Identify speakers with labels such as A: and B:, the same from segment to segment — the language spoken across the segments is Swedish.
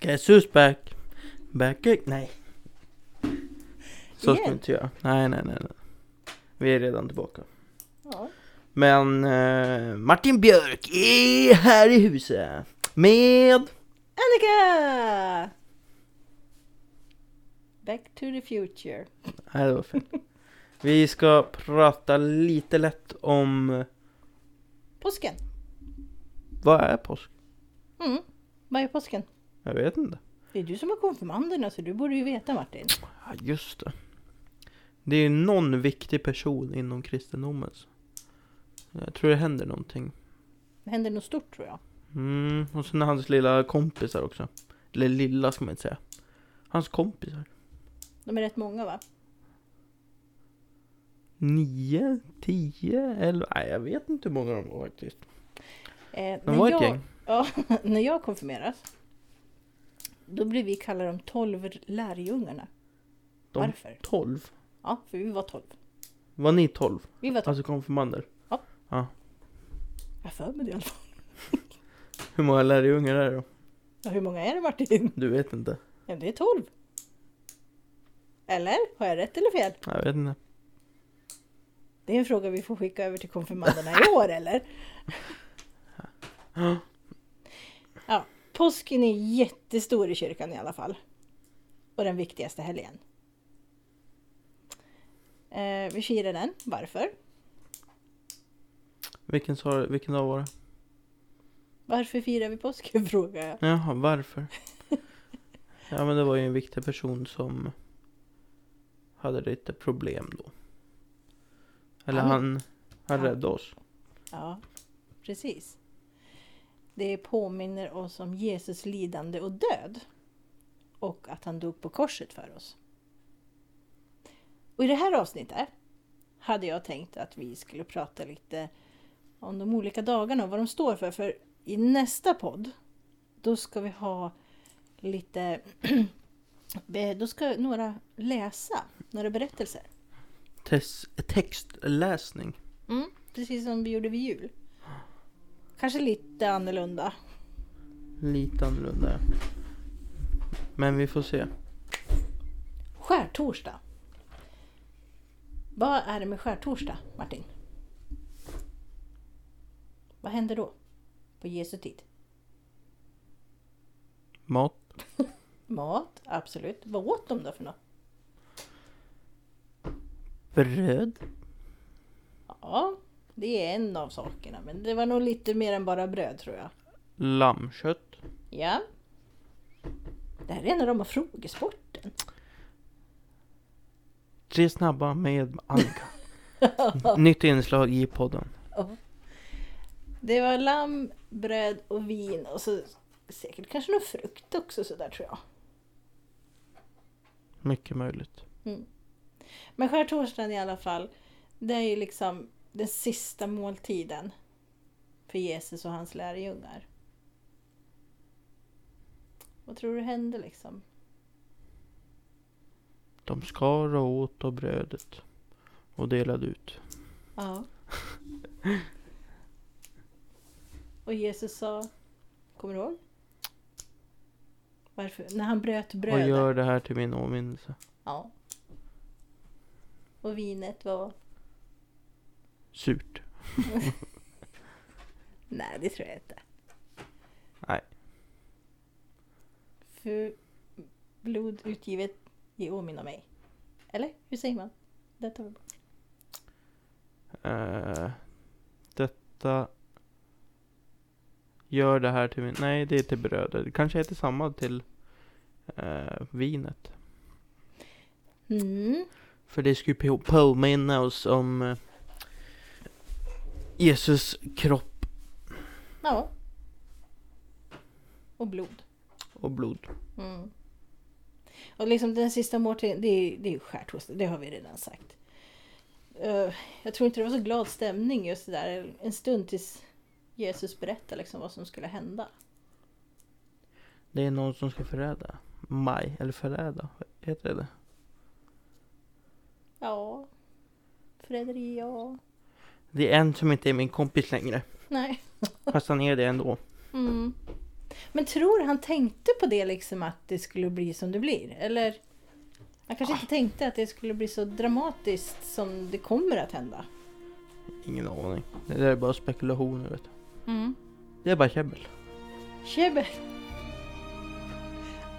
A: Guess who's back? Back ag- Nej. Så ska vi
B: Igen?
A: inte göra. Nej, nej, nej. nej. Vi är redan tillbaka.
B: Ja.
A: Men eh, Martin Björk är här i huset. Med...
B: Annika! Back to the future.
A: Nej, det var fel. Vi ska prata lite lätt om... eh,
B: Påsken.
A: Vad är påsk?
B: Mm. Vad är påsken?
A: Jag vet inte.
B: Det är du som är konfirmanden så du borde ju veta Martin.
A: Ja, just det. Det är ju någon viktig person inom kristendomen. så. Jag tror det händer någonting.
B: Det händer något stort tror jag.
A: Mm, och sen hans lilla kompisar också. Eller lilla ska man inte säga. Hans kompisar.
B: De är rätt många va?
A: Nio, tio, elva. Nej, jag vet inte hur många de var faktiskt.
B: Eh,
A: De
B: när
A: var ett
B: jag-
A: gäng.
B: Ja, när jag konfirmeras då blev vi kallade de tolv lärjungarna.
A: De-
B: Varför?
A: Tolv.
B: Ja, för vi var tolv.
A: Var ni tolv?
B: Vi var tolv.
A: Alltså konfirmander? Alltså-
B: Jag har för mig det i alla fall.
A: Hur många lärjungar är det då?
B: Ja, hur många är det Martin?
A: Du vet inte?
B: Ja, det är tolv. Eller? Har jag rätt eller fel?
A: Jag vet inte.
B: Det är en fråga vi får skicka över till konfirmanderna i år eller?
A: Ja.
B: Ja, påsken är jättestor i kyrkan i alla fall. Och den viktigaste helgen. Eh, vi firar den. Varför?
A: Vilken, sa- vilken dag var det?
B: Varför firar vi påsken frågar jag.
A: Jaha, varför? ja men det var ju en viktig person som hade lite problem då. Eller
B: Ja, men-
A: han, han
B: Ja.
A: räddade oss.
B: Ja, precis. Det påminner oss om Jesus lidande och död. Och att han dog på korset för oss. Och i det här avsnittet hade jag tänkt att vi skulle prata lite om de olika dagarna och vad de står för. För i nästa podd, då ska vi ha lite... då ska några läsa några berättelser.
A: Tes- textläsning.
B: Mm, precis som vi gjorde vid jul. Kanske lite annorlunda.
A: Lite annorlunda. Men vi får se.
B: Skärtorsdag. Vad är det med skärtorsdag, Martin? Vad händer då? På Jesu tid?
A: Mat.
B: Mat, absolut. Vad åt de då för något?
A: Bröd.
B: Ja, det är en av sakerna. Men det var nog lite mer än bara bröd tror jag.
A: Lammkött.
B: Ja. Det här är en av de här frågesporten.
A: Tre snabba med Annika. Nytt inslag i podden.
B: Det var lamm, bröd och vin och så säkert kanske någon frukt också sådär tror jag.
A: Mycket möjligt.
B: Men skärtorsdagen i alla fall, det är ju liksom den sista måltiden för Jesus och hans lärjungar. Vad tror du hände liksom?
A: De skar och åt av brödet. Och delade ut.
B: Ja. Och Jesus sa, kommer du ihåg? Varför? När han bröt brödet.
A: Och gör det här till min åminnelse.
B: Ja. Och vinet var?
A: Surt.
B: Nej, det tror jag inte.
A: Nej.
B: För blod utgivet i åminna mig. Eller? Hur säger man? Det tar vi bort.
A: Eh, detta... Gör det här till min... Nej, det är till brödet. Det kanske heter samma till eh, vinet.
B: Mm.
A: För det skulle på- påminna oss om eh, Jesus kropp
B: Ja. Och blod.
A: och blod.
B: Mm. Och liksom den sista måltiden, det är, det är ju skärtorsdag, det har vi redan sagt. Eh, jag tror inte det var så glad stämning just det där en stund tills Jesus berättade liksom vad som skulle hända.
A: Det är någon som ska förräda. Maj, eller förräda, heter det det
B: Ja. Fredrik, ja.
A: Det är en som inte är min kompis längre.
B: Nej.
A: Fast han är det ändå.
B: Mm. Men tror du han tänkte på det liksom att det skulle bli som det blir? Eller? Han kanske inte tänkte att det skulle bli så dramatiskt som det kommer att hända.
A: Ingen aning. Det där är bara spekulationer vet du. Det är bara käbbel.
B: Käbbel.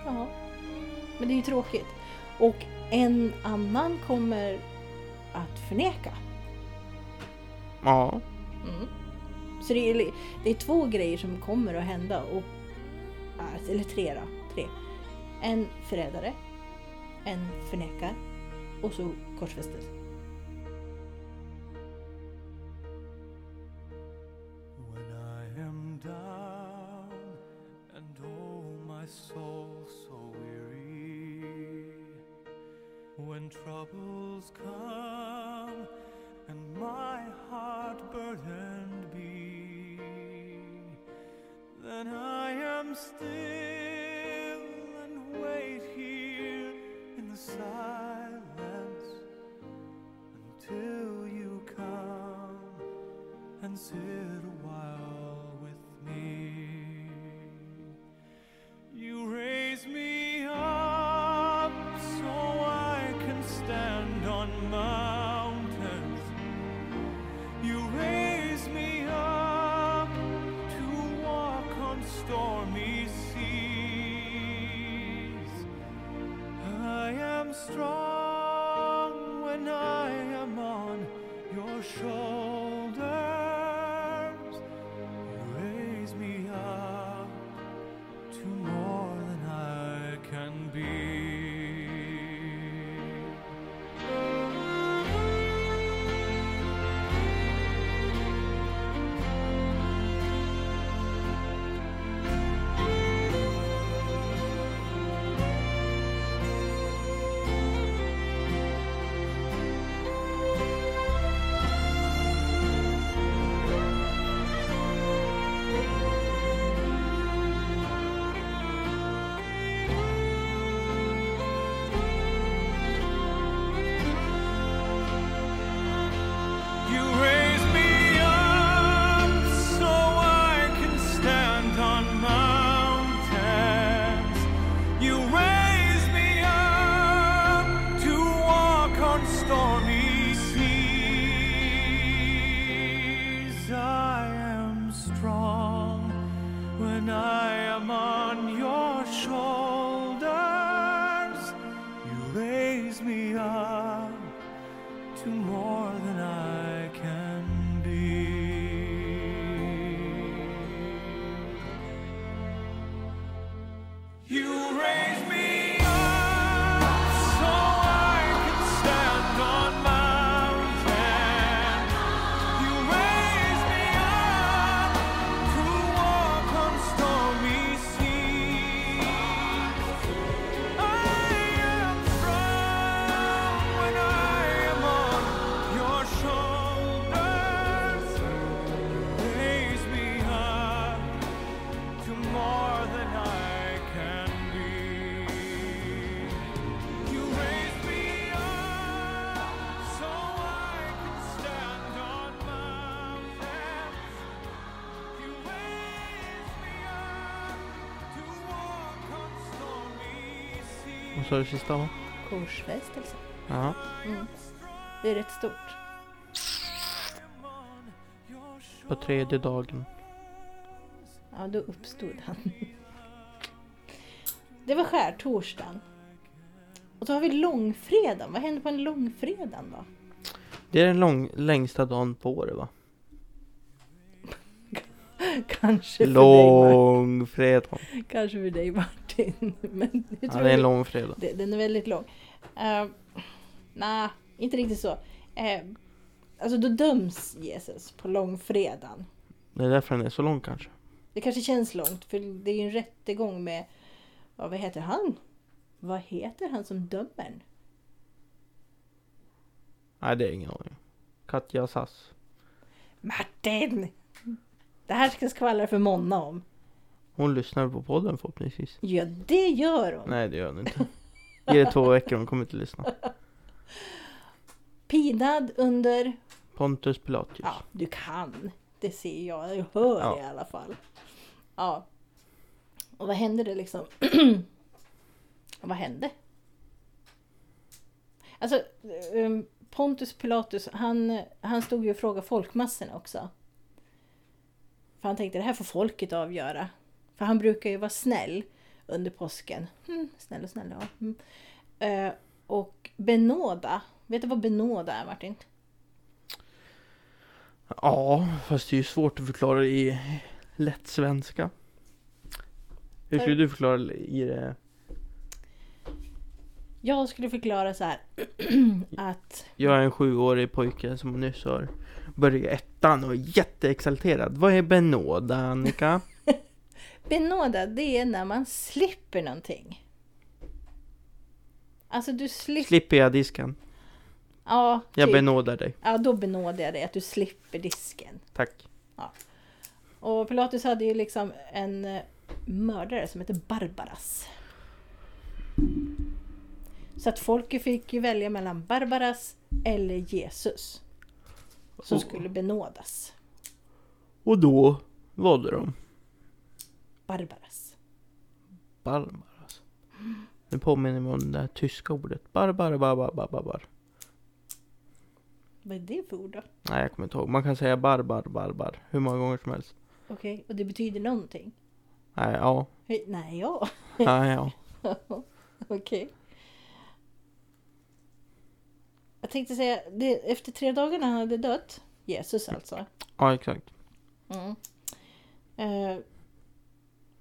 B: Ja. Men det är ju tråkigt. Och en annan kommer att förneka.
A: Ja.
B: Mm. Så det är, li- det är två grejer som kommer att hända. Och, ah, eller tre då. Tre. En förrädare. En förnekar. Och så korsfästes.
C: When I am down and oh my soul so weary, when troubles come and my heart burdened be, then I am still and wait here in the silence until you come and sit a while with me. You raise me up so I can stand on mountains. You raise me up to walk on stormy seas. I am strong when I am on your shoulders. You raise me up to more than I can be. You raise me up so I can stand on mountains. You raise me up to walk on stormy seas. I am strong when I am on your shoulders. You raise me up to more than I can be. You raise me up so I can stand on mountains. You raise me up to walk on stormy seas. I am strong when I am on your shoulders. Raise me up to more than I can be. You raise me up so I can stand on mountains. You raise me up to walk on stormy seas.
A: Vad sa du sista va?
B: Korsfästelse.
A: Ja.
B: Det är rätt stort.
A: På tredje dagen.
B: Ja, då uppstod han. Det var skärtorsdagen. Och så har vi långfredagen. Vad händer på en långfredag då?
A: Det är den lång, längsta dagen på året va?
B: Kanske för, dig, Mar-
A: Lång fredag.
B: kanske för dig Martin. Men jag
A: Ja,
B: tror
A: det är en
B: det-
A: lång fredag.
B: det- den är väldigt lång. Eh, Nej, inte riktigt så. Eh, alltså då döms Jesus på långfredagen.
A: Det är därför den är så lång kanske.
B: Det kanske känns långt för det är ju en rättegång med... Ja, vad heter han? Vad heter han som dömer?
A: Nej, det är ingen aning. Katja Sass.
B: Martin! Det här ska skvallra för Monna om.
A: Hon lyssnar på podden förhoppningsvis.
B: Ja, det gör hon.
A: Nej, det gör hon inte. Ge det två veckor, hon kommer inte lyssna.
B: Pinad under...
A: Pontus Pilatus.
B: Ja, du kan. Det ser jag. Jag hör
A: Ja.
B: det i alla fall. Ja. Och vad hände det liksom? vad hände? Alltså ehm, Pontus Pilatus, han, han stod ju och frågade folkmassorna också. För han tänkte det här får folket avgöra. För han brukar ju vara snäll under påsken. Mm, snäll och snäll, ja. Mm. Eh, och benåda. Vet du vad benåda är Martin?
A: Ja, fast det är ju svårt att förklara i lätt svenska. Hur skulle du förklara i det?
B: Jag skulle förklara så här att
A: Jag är en sjuårig pojke som nyss har börjat ettan och är jätteexalterad. Vad är benåda, Annika?
B: benåda det är när man slipper någonting. Alltså du slipper...
A: Slipper jag disken?
B: ja,
A: Jag
B: typ.
A: benådar dig.
B: ja, då benådar jag dig att du slipper disken.
A: Tack.
B: Och Pilatus hade ju liksom en eh, mördare som hette Barbaras. Så att folket fick ju välja mellan Barbaras eller Jesus. Som
A: Och-
B: skulle benådas.
A: Och då valde de
B: Barbaras.
A: Barbaras. Det påminner mig om det där tyska ordet. Barbar, barbar, barbar. Bar.
B: Vad är det för ord då?
A: Nej, jag kommer inte ihåg. Man kan säga barbar, barbar. Hur många gånger som helst.
B: Okej, och det betyder någonting?
A: Nej, ja.
B: Hej, Nej, ja.
A: Nej, ja.
B: Okej. Jag tänkte säga, det, efter tre dagar när han hade dött, Jesus alltså,
A: Ja, exakt.
B: Mm. Eh,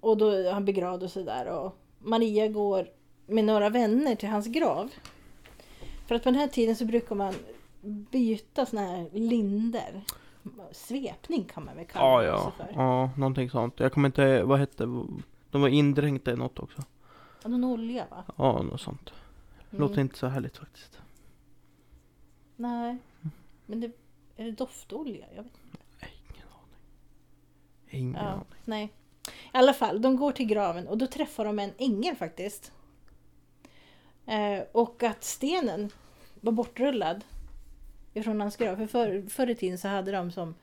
B: och då han begravd och sådär. Och Maria går med några vänner till hans grav. För att på den här tiden så brukar man byta såna här linder. Svepning kan man väl kalla
A: Ja,
B: det också
A: Ah, ja.
B: för.
A: Ja, någonting sånt. Jag kommer inte... Vad hette... De var indränkta i något också.
B: Ja, Någon olja va?
A: Ja, något sånt. Låter
B: Mm.
A: inte så härligt faktiskt.
B: Nej. Men det, är det doftolja? Jag vet.
A: Ingen aning. Ingen
B: Ja,
A: aning.
B: nej. I alla fall, de går till graven och då träffar de en ängel faktiskt. Eh, och att stenen var bortrullad ifrån hans grav. För förr, förr i tiden så hade de som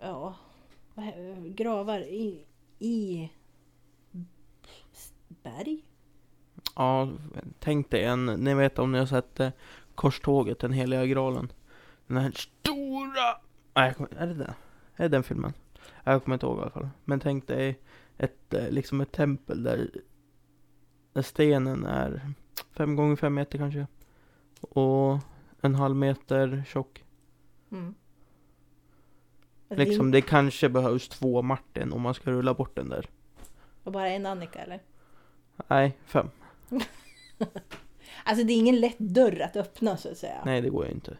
B: ja, vad he- gravar i, i berg.
A: Ja, tänk dig en... Ni vet om ni har sett eh, Korståget, den heliga graalen. Den här stora... Nej, jag kommer, är det den? Är det den filmen? Nej, Jag kommer inte ihåg i alla fall. Men tänk dig ett, eh, liksom ett tempel där, där stenen är fem gånger fem meter kanske. Och en halv meter tjock.
B: Mm. Alltså,
A: Liksom,
B: Ring-
A: det kanske behövs två Martin om man ska rulla bort den där.
B: Och bara en Annika eller?
A: Nej, fem.
B: Alltså det är ingen lätt dörr att öppna så att säga.
A: Nej, det går ju inte.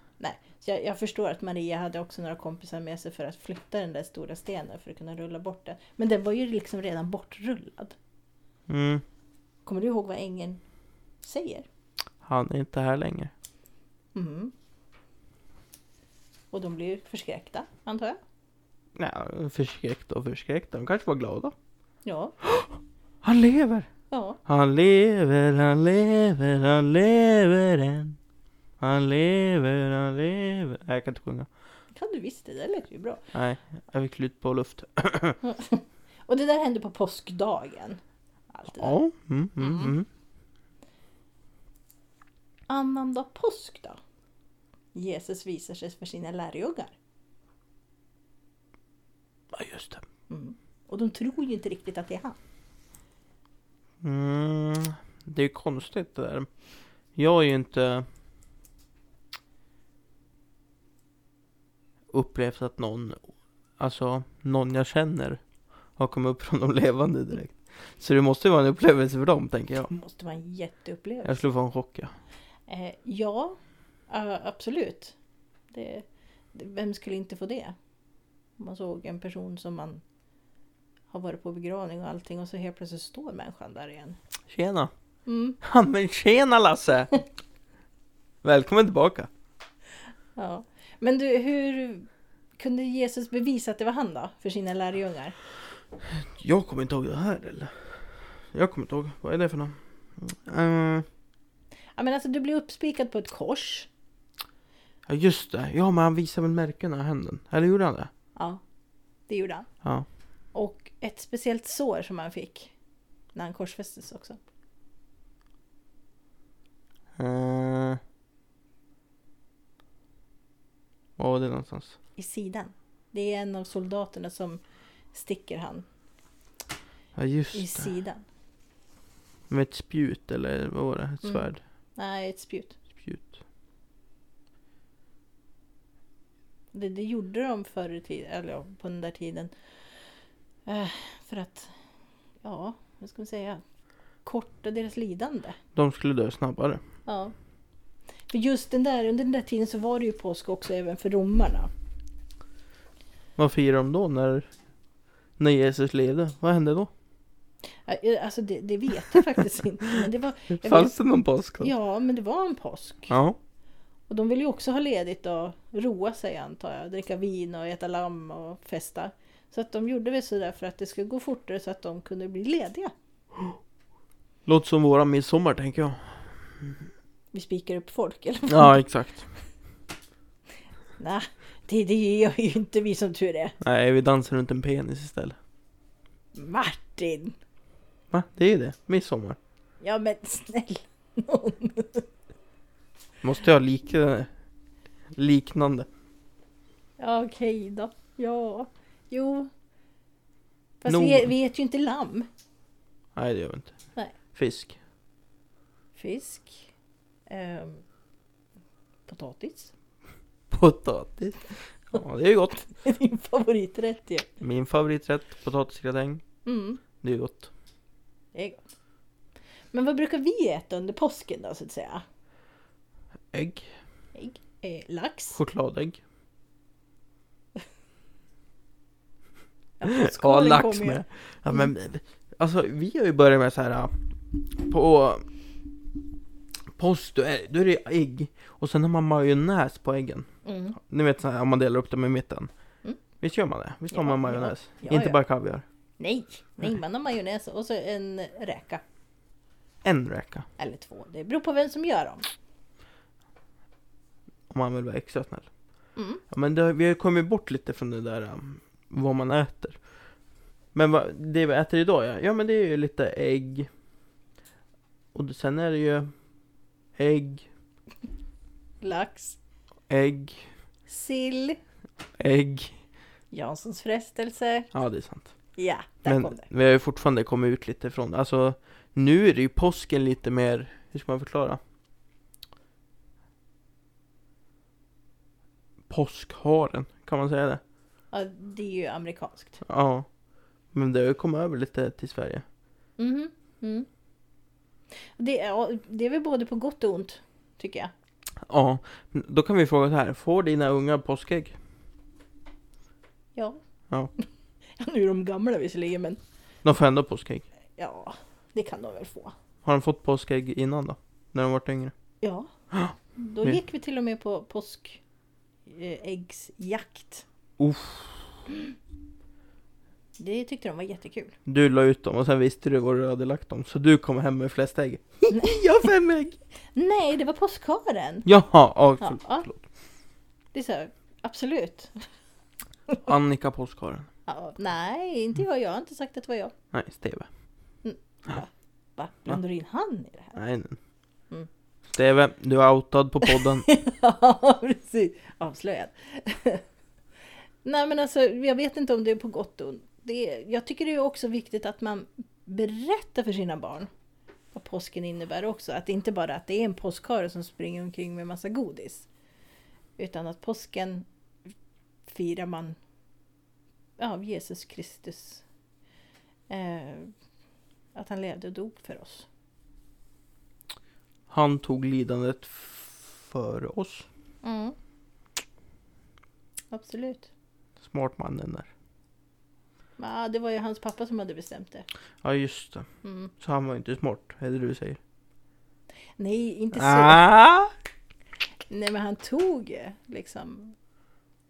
B: Så jag, jag förstår att Maria hade också några kompisar med sig för att flytta den där stora stenen för att kunna rulla bort den. Men den var ju liksom redan bortrullad.
A: Mm,
B: Kommer du ihåg vad ängeln säger?
A: han är inte här längre.
B: Mhm. Och de blir ju förskräckta, antar jag.
A: Nej, förskräckt och förskräckt. De kanske var glada.
B: Ja,
A: Han lever!
B: ja.
A: Han lever, han lever, han lever än. Han lever, han lever. Nej, jag kan inte sjunga.
B: kan du visst det. Det lät ju bra.
A: Nej, jag fick slut på luft.
B: Och det där hände på påskdagen. Allt det där.
A: Ja, mm, mm,
B: Mm.
A: mm.
B: Annandag påsk då? Jesus visar sig för sina lärjungar.
A: Ja, just det.
B: Mm. Och de tror ju inte riktigt att det är han.
A: Mm, det är ju konstigt det där. Jag är ju inte upplevt att någon, alltså någon jag känner har kommit upp från de levande direkt. Så det måste ju vara en upplevelse för dem, tänker jag.
B: Det måste vara en jätteupplevelse.
A: Jag skulle få en chock, ja.
B: Eh, ja, eh, absolut. Det, det, vem skulle inte få det? Om man såg en person som man har varit på begravning och allting och så helt plötsligt står människan där igen.
A: Tjena!
B: Mm,
A: Ja men tjena Lasse! Välkommen tillbaka!
B: ja. Men du, hur kunde Jesus bevisa att det var han då? För sina lärjungar?
A: Jag kommer inte ihåg det här eller? Jag kommer inte ihåg, vad är det för något? Eh,
B: Ja, men alltså, du blir uppspikad på ett kors.
A: Ja just det, ja men han visade väl märkena i händen? Eller gjorde han det?
B: Ja, det gjorde han.
A: Ja.
B: Och ett speciellt sår som han fick när han korsfästes också.
A: Eh. Var var det någonstans?
B: I sidan. Det är en av soldaterna som sticker han
A: Ja
B: i
A: just det.
B: sidan.
A: Med ett spjut eller vad var det? Ett
B: Mm.
A: svärd?
B: Nej, ett spjut.
A: Spjut.
B: Det, det gjorde de förr i tiden, eller ja, på den där tiden. Eh, för att, ja, vad ska man säga? Korta deras lidande.
A: De skulle dö snabbare.
B: Ja. För just den där, under den där tiden så var det ju påsk också även för romarna.
A: Vad firar de då när, när Jesus levde? Vad hände då?
B: Eh, Alltså det, det vet jag faktiskt inte. Men det var, jag
A: Fanns det någon påsk då?
B: ja, men det var en påsk.
A: Ja.
B: Och de vill ju också ha ledigt och roa sig antar jag. Dricka vin och äta lamm och festa. Så att de gjorde väl sådär för att det skulle gå fortare så att de kunde bli lediga.
A: Låter som våra midsommar tänker jag.
B: Vi spikar upp folk eller?
A: Ja exakt.
B: Nej, det, det gör ju inte vi som tur är.
A: Nej vi dansar runt en penis istället.
B: Martin!
A: Va? Det är ju det. Midsommar.
B: Ja men snälla nån.
A: Måste jag ha lik, liknande?
B: Ja, Okej då. Ja. Jo. Fast
A: Nog.
B: vi, vi äter ju inte lamm.
A: Nej det gör vi inte.
B: Nej.
A: Fisk.
B: Fisk. Ehm, potatis.
A: Potatis. Ja det är ju gott.
B: Din favoriträtt ju.
A: Min favoriträtt, potatisgratäng.
B: Mm.
A: Det är gott.
B: Det är gott. Men vad brukar vi äta under påsken då så att säga?
A: Ägg.
B: Ägg, eh, lax.
A: Chokladägg. Ja,
B: Skålen
A: lax
B: kommer ju.
A: med. Ja, men, alltså, vi har ju börjat med så här äh, på post, då är då är det ägg och sen har man majonnäs på äggen.
B: Mm.
A: Ni vet så här, om man delar upp dem i mitten.
B: Mm.
A: Visst gör man det? Visst har
B: Ja,
A: man majonnäs?
B: ja. Ja,
A: Inte
B: ja.
A: bara kaviar.
B: Nej, nej, man har majonnäs och så en räka.
A: En räka,
B: Eller två, det beror på vem som gör dem.
A: om man vill vara extra snäll.
B: Mm.
A: Ja, men det, har- vi har ju kommit bort lite från det där äh, vad man äter. Men vad, det vi äter idag, ja, ja men det är ju lite ägg. Och sen är det ju ägg,
B: Lax,
A: ägg,
B: sill,
A: ägg.
B: Janssons frestelse.
A: Ja, det är sant.
B: Ja, där kom
A: Men
B: det.
A: vi har ju fortfarande kommit ut lite från Alltså, nu är det ju påsken lite mer, hur ska man förklara? Påskharen, kan man säga det?
B: Ja, det är ju amerikanskt.
A: Ja. Men det har ju kommit över lite till Sverige.
B: Mhm, Mm. Det, är, ja, det är väl både på gott och ont, tycker jag.
A: Ja, då kan vi fråga så här, får dina unga påskägg?
B: Ja.
A: Ja.
B: ja, nu är de gamla visserligen, men
A: De får ändå påskägg.
B: ja, det kan de väl få.
A: Har de fått påskägg innan då? När de varit yngre?
B: Ja. Då
A: Men-
B: gick vi till och med på eh, påskäggsjakt.
A: Uff.
B: Det tyckte de var jättekul.
A: Du la ut dem och sen visste du var du hade lagt dem, så du kom hem med flest ägg. Jag har fem ägg!
B: Nej, det var påskharen!
A: Jaha, ja,
B: Ja,
A: förlåt.
B: ja. Det är så här, absolut.
A: Annika Påskharen.
B: Ja, nej, inte jag. Jag har inte sagt att det var jag.
A: Nej, Steve.
B: Va? Blandar du in han i det här?
A: Nej, nej.
B: Mm.
A: Steve, du är outad på podden.
B: Ja, precis. Avslöjad. Nej, men alltså, jag vet inte om det är på gott och ont. Det är, jag tycker det är också viktigt att man berättar för sina barn vad påsken innebär också. Att det inte bara att det är en påskhare som springer omkring med massa godis. Utan att påsken firar man av Jesus Kristus. Eh, att han levde och dog för oss.
A: Han tog lidandet f- för oss.
B: Absolut.
A: Smart mannen där.
B: Ja, det var ju hans pappa som hade bestämt det.
A: Ja, just det.
B: Mm.
A: Så han var inte smart, är det du säger?
B: Nej, inte så.
A: Ah!
B: Nej, men han tog ju liksom...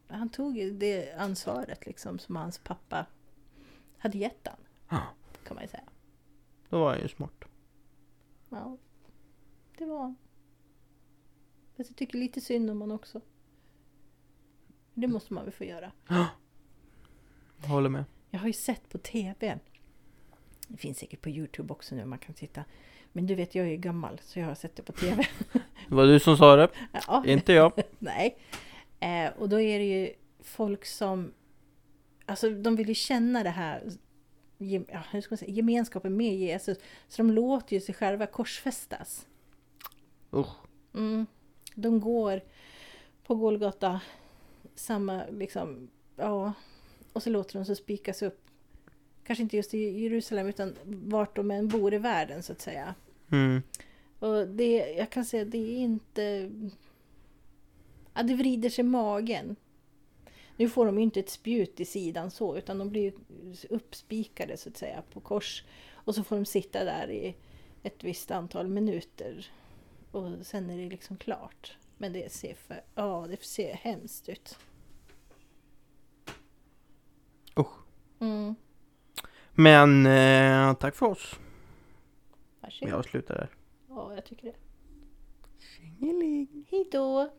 B: Han tog ju det ansvaret liksom som hans pappa hade gett han.
A: Ja.
B: Kan man ju säga.
A: Då var han ju smart.
B: Ja, det var han. Fast jag tycker lite synd om honom också. Det måste man väl få göra.
A: Jag håller med.
B: Jag har ju sett på TV. Det finns säkert på Youtube också nu man kan titta. Men du vet, jag är ju gammal så jag har sett det på TV.
A: Det var du som sa det,
B: ja.
A: inte jag.
B: Nej. Eh, och då är det ju folk som... Alltså de vill ju känna det här gem- ja, hur ska man säga, gemenskapen med Jesus. Så de låter ju sig själva korsfästas.
A: Usch.
B: Mm. De går på Golgata, samma liksom, ja. Och så låter de sig spikas upp. Kanske inte just i Jerusalem utan vart de än bor i världen så att säga.
A: Mm.
B: Och det, jag kan säga det är inte... Ja, det vrider sig i magen. Nu får de ju inte ett spjut i sidan så, utan de blir ju uppspikade så att säga på kors. Och så får de sitta där i ett visst antal minuter. Och sen är det liksom klart. Men det ser för... Ja, det ser hemskt ut.
A: Usch.
B: Mm.
A: Men eh, tack för oss.
B: Varsågod.
A: Jag slutar där.
B: Ja, jag tycker det.
A: Tjingeling.
B: Hej då!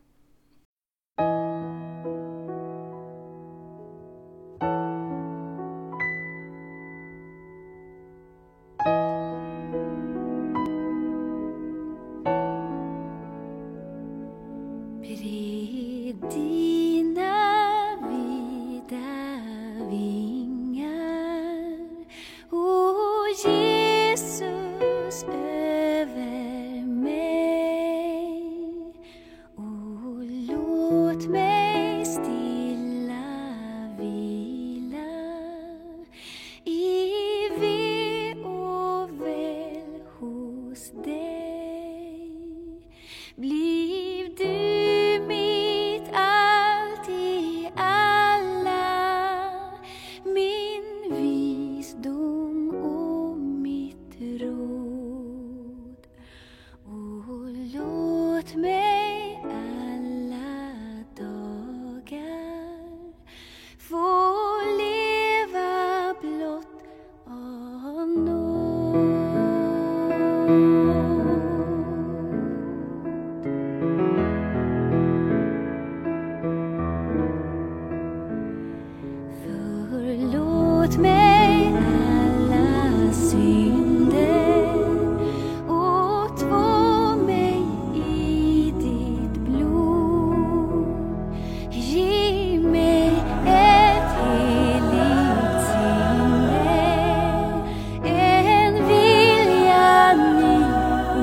D: Bred dina vida vingar, o Jesus, över mig. Och låt mig stilla vila i ve och väl hos dig. Bliv du mitt allt i alla min visdom och mitt råd. Och låt mig alla dagar få leva blott av nåd. Förlåt mig alla synder och två mig i ditt blod. Ge mig ett heligt sinne, en vilja ny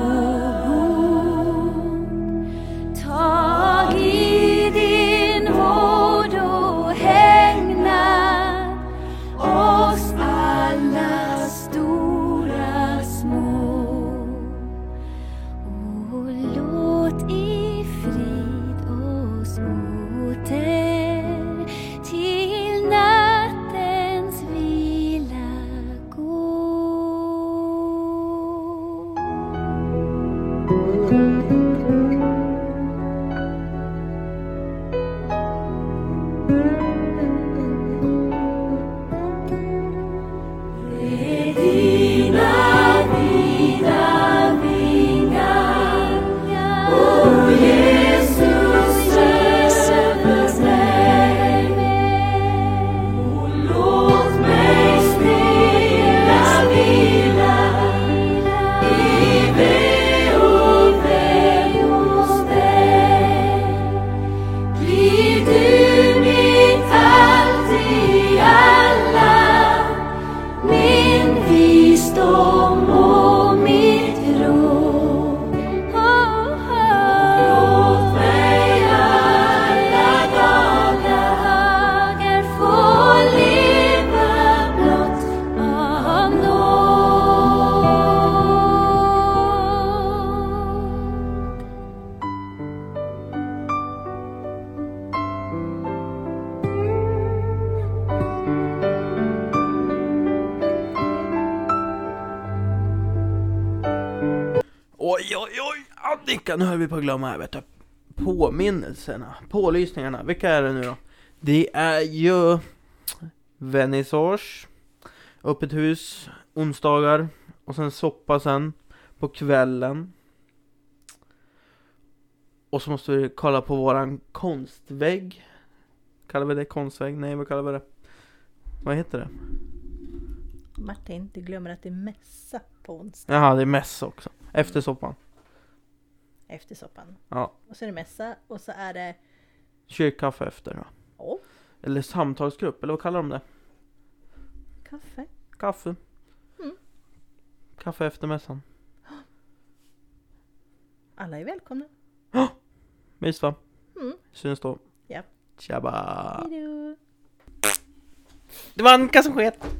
D: och god. Tag i din vård och hägna oss alla stora små. Och låt i frid oss åter till nattens vila gå. Dina vida vingar, o Jesus över mig. Och låt mig stilla vila i ve och väl hos dig. Bliv du mitt allt i alla min visdom och mitt råd. Låt mig alla dagar få leva blott av nåd.
A: Oj, oj, oj! Annika, nu höll vi på att glömma här vet du. Påminnelserna, pålysningarna, vilka är det nu då? Det är ju vernissage, öppet hus, onsdagar och sen soppa sen på kvällen. Och så måste vi kolla på våran konstvägg. Kallar vi det konstvägg? Nej, vad kallar vi det? Vad heter det?
B: Martin, du glömmer att det är mässa på onsdag
A: Jaha, det är mäss också. Efter soppan.
B: efter soppan.
A: Ja.
B: Och så är det mässa och så är det...
A: Kyrkkaffe efter då.
B: Åh,
A: Eller samtalsgrupp, eller vad kallar de det?
B: kaffe!
A: Kaffe.
B: Mm.
A: Kaffe efter mässan.
B: Alla är välkomna.
A: Mys va?
B: Mm.
A: Syns då.
B: Japp.
A: Tjabba!
B: Hejdå!
A: Det var Anka som sket!